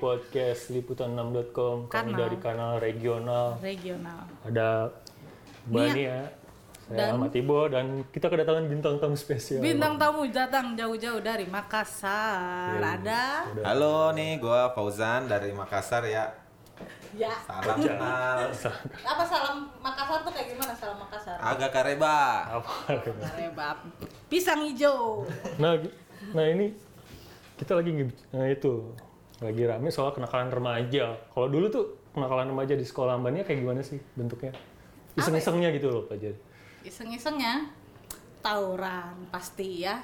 podcast liputan6.com kami Kanal. dari kanal regional regional. ada Mbak Nia, Nia. saya Iya. Dan- Ahmad Tibo dan kita kedatangan bintang tamu spesial. Bintang tamu datang jauh-jauh dari Makassar. Iya. Ada Halo nih, gua Fauzan dari Makassar ya. ya Salam kenal. apa salam Makassar tuh kayak gimana salam Makassar? Agak kareba. Apa? Karebab. ya, Pisang hijau. Nah, gi- nah ini kita lagi nge- nah itu lagi rame soal kenakalan remaja. Kalau dulu tuh kenakalan remaja di sekolah Mbak Nia kayak gimana sih bentuknya? ya? Iseng-isengnya gitu loh, Pak Jadi. Iseng-isengnya tawuran pasti ya.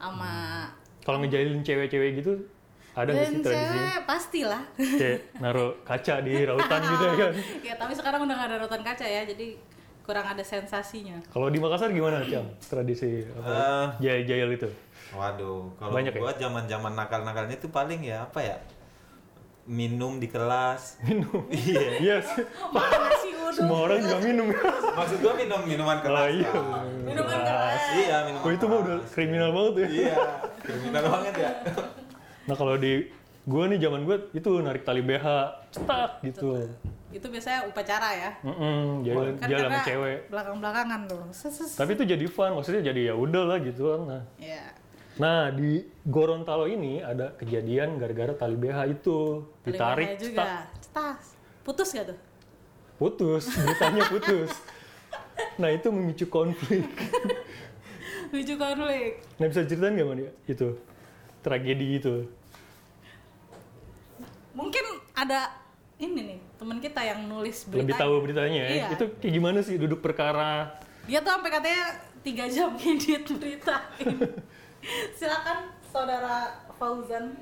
Sama Kalau ngejalin cewek-cewek gitu Hmm. ada nggak sih dan tradisinya? cewek pastilah. Kayak naruh kaca di rautan gitu ya kan? ya, tapi sekarang udah gak ada rotan kaca ya, jadi kurang ada sensasinya. Kalau di Makassar gimana, Cam? Tradisi Eh. apa? Jahil-jahil itu. Waduh, kalau Banyak ya? gua zaman-zaman nakal-nakalnya itu paling ya apa ya? Minum di kelas. Minum. Iya. sih. Nasi uduk. Semua orang juga minum. Maksud gua minum minuman kelas. Oh iya. Pak. Minuman kan keras. Iya, minuman. Oh itu mah udah keras. kriminal banget ya. Iya, kriminal banget ya. Nah kalau di gue nih zaman gue itu narik tali BH cetak gitu. Itu biasanya upacara ya. Kan Mm-mm, jalan jalan sama cewek. belakang-belakangan tuh. Ses, ses. Tapi itu jadi fun, maksudnya jadi ya udah lah gitu kan. Nah. Ya. nah di Gorontalo ini ada kejadian gara-gara tali BH itu ditarik Telinganya juga. cetak Cetas. Putus gak tuh? putus, beritanya putus. nah itu memicu konflik. Lucu konflik. Nah bisa ceritain nggak man ya itu tragedi itu? Mungkin ada ini nih, teman kita yang nulis berita. Lebih tahu beritanya ya. Iya. Itu kayak gimana sih duduk perkara? Dia tuh sampai katanya 3 jam ngedit berita. Silakan saudara Fauzan.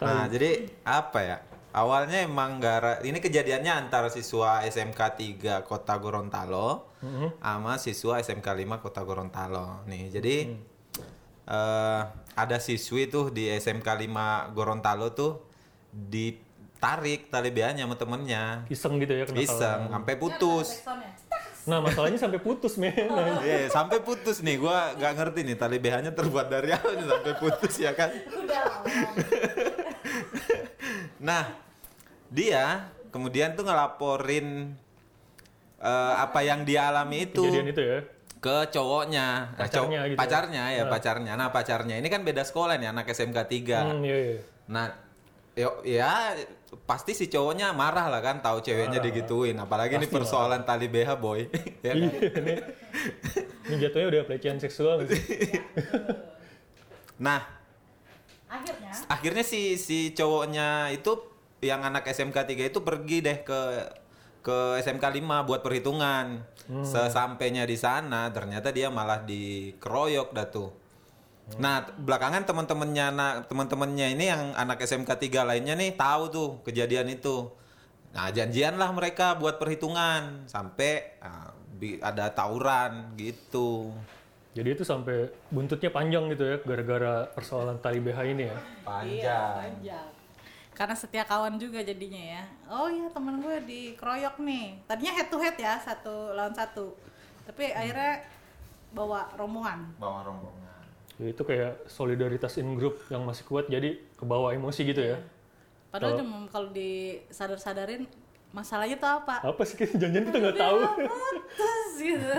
Kan Nah, jadi apa ya? Awalnya emang gara ini kejadiannya antara siswa SMK 3 Kota Gorontalo sama siswa SMK 5 Kota Gorontalo. Nih, jadi eh, ada siswi tuh di SMK 5 Gorontalo tuh ditarik tali beanya sama temennya Iseng gitu ya kenakalan. iseng sampai putus. Backsoundnya. Nah masalahnya sampai putus men. Nah, Iya, sampai putus nih. Gua nggak ngerti nih tali BH-nya terbuat dari apa nih sampai putus ya kan. Udah. Nah, dia kemudian tuh ngelaporin eh, apa yang dia alami itu Kejadian itu ya. ke cowoknya, Nah, Pacarnya gitu ya? pacarnya ya, pacarnya. Nah, pacarnya ini kan beda sekolah nih anak SMK 3. Hmm, iya, iya. Nah, yo- ya pasti si cowoknya marah lah kan tahu ceweknya digituin, apalagi ini persoalan tali BH boy. ya kan? Iya, ini, ini jatuhnya udah pelecehan seksual nggak sih? Nah, Akhirnya akhirnya si si cowoknya itu yang anak SMK 3 itu pergi deh ke ke SMK 5 buat perhitungan. Sesampainya di sana ternyata dia malah dikeroyok dah tuh. Nah, t- belakangan teman-temannya anak teman-temannya ini yang anak SMK 3 lainnya nih tahu tuh kejadian itu. Nah, janjian lah mereka buat perhitungan sampai ah, bi- ada tawuran gitu. Jadi itu sampai buntutnya panjang gitu ya gara-gara persoalan tali BH ini ya. Panjang. panjang. Karena setia kawan juga jadinya ya. Oh iya temen gue dikeroyok nih. Tadinya head to head ya satu lawan satu. Tapi akhirnya bawa rombongan. Bawa rombongan. Ya, Itu kayak solidaritas in group yang masih kuat jadi kebawa emosi gitu ya. Padahal cuma kalau disadar-sadarin masalahnya tuh apa? Apa sih kita janjian kita nggak tahu Putus gitu.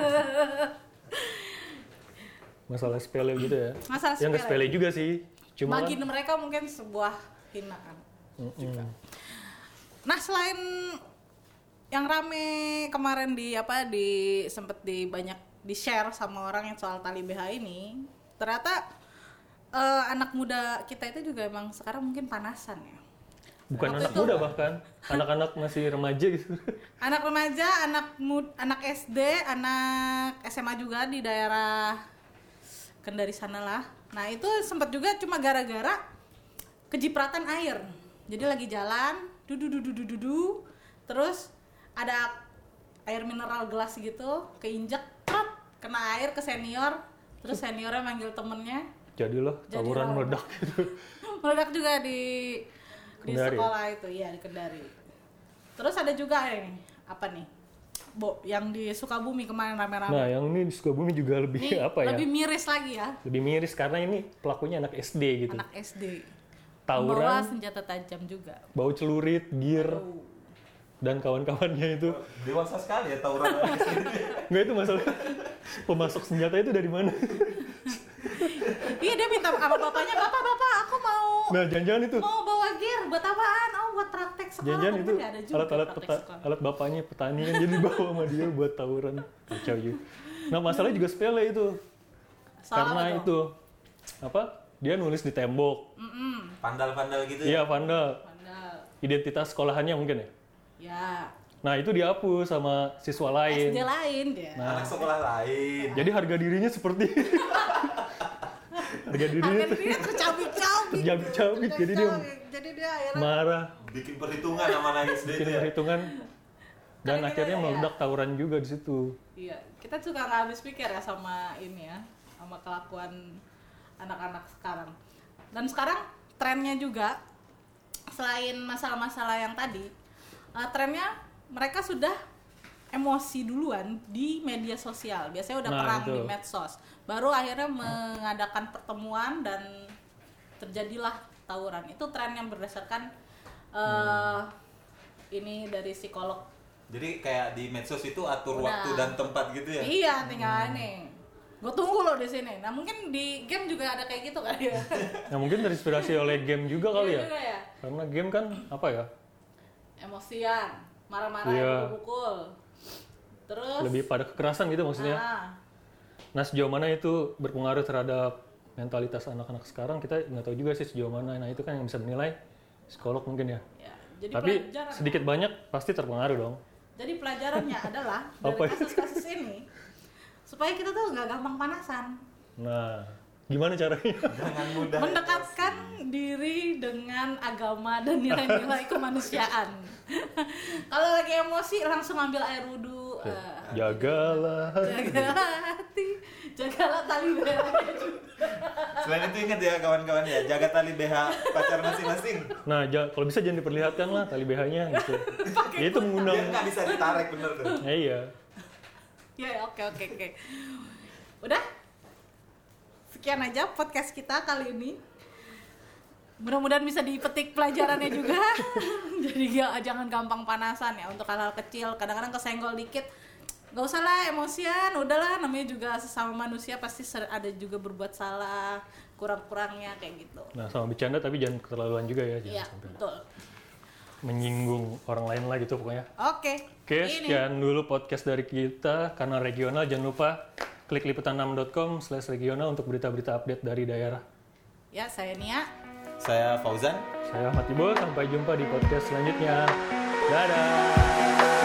masalah sepele gitu ya. Masalah Yang nggak sepele juga sih. Cuma Bagi mereka mungkin sebuah hinaan. juga. Nah selain yang rame kemarin di apa di sempet di banyak di share sama orang yang soal tali BH ini, ternyata eh, anak muda kita itu juga emang sekarang mungkin panasan ya. bukan anak muda bahkan anak-anak masih remaja gitu. Anak remaja, anak mud, anak SD, anak SMA juga di daerah Kendari sanalah. Nah itu sempat juga cuma gara-gara kejipratan air. Jadi lagi jalan, dudu dudu dudu dudu, terus ada air mineral gelas gitu, keinjek, prot, kena air ke senior, terus seniornya manggil temennya, Jadilah Jadi tawuran lah. meledak gitu. meledak juga di di Kendari. sekolah itu ya di Kendari terus ada juga ini apa nih Bo, yang di Sukabumi kemarin rame-rame Nah, yang ini di Sukabumi juga lebih Ini apa ya? lebih miris lagi ya lebih miris karena ini pelakunya anak SD gitu. anak SD Membawa tawuran, senjata tajam juga. bau celurit, gear, dan kawan-kawannya itu. Dewasa sekali ya tawuran di sini. Nggak itu masalah. Pemasok senjata itu dari mana? Iya dia minta sama bapaknya, bapak bapak aku mau Nah, jangan-jangan itu. mau bawa gear buat apaan? Oh buat praktek sekolah. Jangan-jangan Tapi itu nggak ada juga alat-alat praktek peta- sekolah. alat bapaknya petani kan jadi dibawa sama dia buat tawuran. Kacau you. Nah, masalahnya juga sepele itu. Soal apa Karena tuh? itu apa? Dia nulis di tembok. Mm-mm. Pandal-pandal gitu ya. Iya, vandal. Bandel. Identitas sekolahannya mungkin ya. Ya. Nah, itu dihapus sama siswa lain. SD lain dia. Anak sekolah lain. Jadi harga dirinya seperti harga dirinya Harga dirinya tercabik-cabik. Tercabik-cabik, jadi dia- Tercabik-cabik. Jadi dia akhirnya marah, Bikin perhitungan sama anak SD bikin itu ya. perhitungan dan Kira-kira akhirnya ya. meledak tawuran juga di situ. Iya, kita juga nggak habis pikir ya sama ini ya, sama kelakuan anak-anak sekarang. Dan sekarang trennya juga selain masalah-masalah yang tadi, eh, trennya mereka sudah emosi duluan di media sosial. Biasanya udah Nah, perang itu. di medsos, baru akhirnya mengadakan pertemuan dan terjadilah tawuran. Itu tren yang berdasarkan eh, ini dari psikolog Jadi kayak di medsos itu atur Udah. waktu dan tempat gitu ya. Iya, tinggal nih. Gue tunggu lo di sini. Nah, mungkin di game juga ada kayak gitu kali ya. Nah, mungkin terinspirasi oleh game juga kali Iya ya. juga ya. Karena game kan apa ya? Emosian, marah-marah, Iya. pukul. Terus Lebih pada kekerasan gitu maksudnya. ah, Nah, sejauh mana itu berpengaruh terhadap mentalitas anak-anak sekarang kita nggak tahu juga sih sejauh mana. Nah, itu kan yang bisa menilai psikolog mungkin ya. ya. Jadi Tapi pelajaran. sedikit banyak pasti terpengaruh dong. Jadi pelajarannya adalah dari Apa ya? kasus-kasus ini supaya kita tuh nggak gampang panasan. Nah, gimana caranya? Jangan mudah. mendekatkan diri dengan agama dan nilai-nilai kemanusiaan. Kalau lagi emosi langsung ambil air wudhu. Iya. eh, Jagalah jagalah hati, jagalah tali belerangnya juga. Selain itu ingat ya kawan-kawan ya, jaga tali BH pacar masing-masing. Nah, ja- kalau bisa jangan diperlihatkan lah tali BH-nya gitu. ya itu mengundang. Biar nggak bisa ditarik bener tuh. Ya, iya. Ya, ya, oke oke oke. Udah? Sekian aja podcast kita kali ini. Mudah-mudahan bisa dipetik pelajarannya juga. Jadi ya, jangan gampang panasan ya untuk hal-hal kecil. Kadang-kadang kesenggol dikit. Gak usah lah emosian, udahlah namanya juga sesama manusia pasti ser- ada juga berbuat salah, kurang-kurangnya kayak gitu. Nah, sama bercanda tapi jangan keterlaluan juga ya, jangan Iya, sampai betul. menyinggung orang lain lah gitu pokoknya. Oke. Oke, ini. sekian dulu podcast dari kita karena regional. Jangan lupa klik liputan6.com slash regional untuk berita-berita update dari daerah. Ya, saya Nia. Saya Fauzan. Saya Ahmad Ibo, sampai jumpa di podcast selanjutnya. Dadah!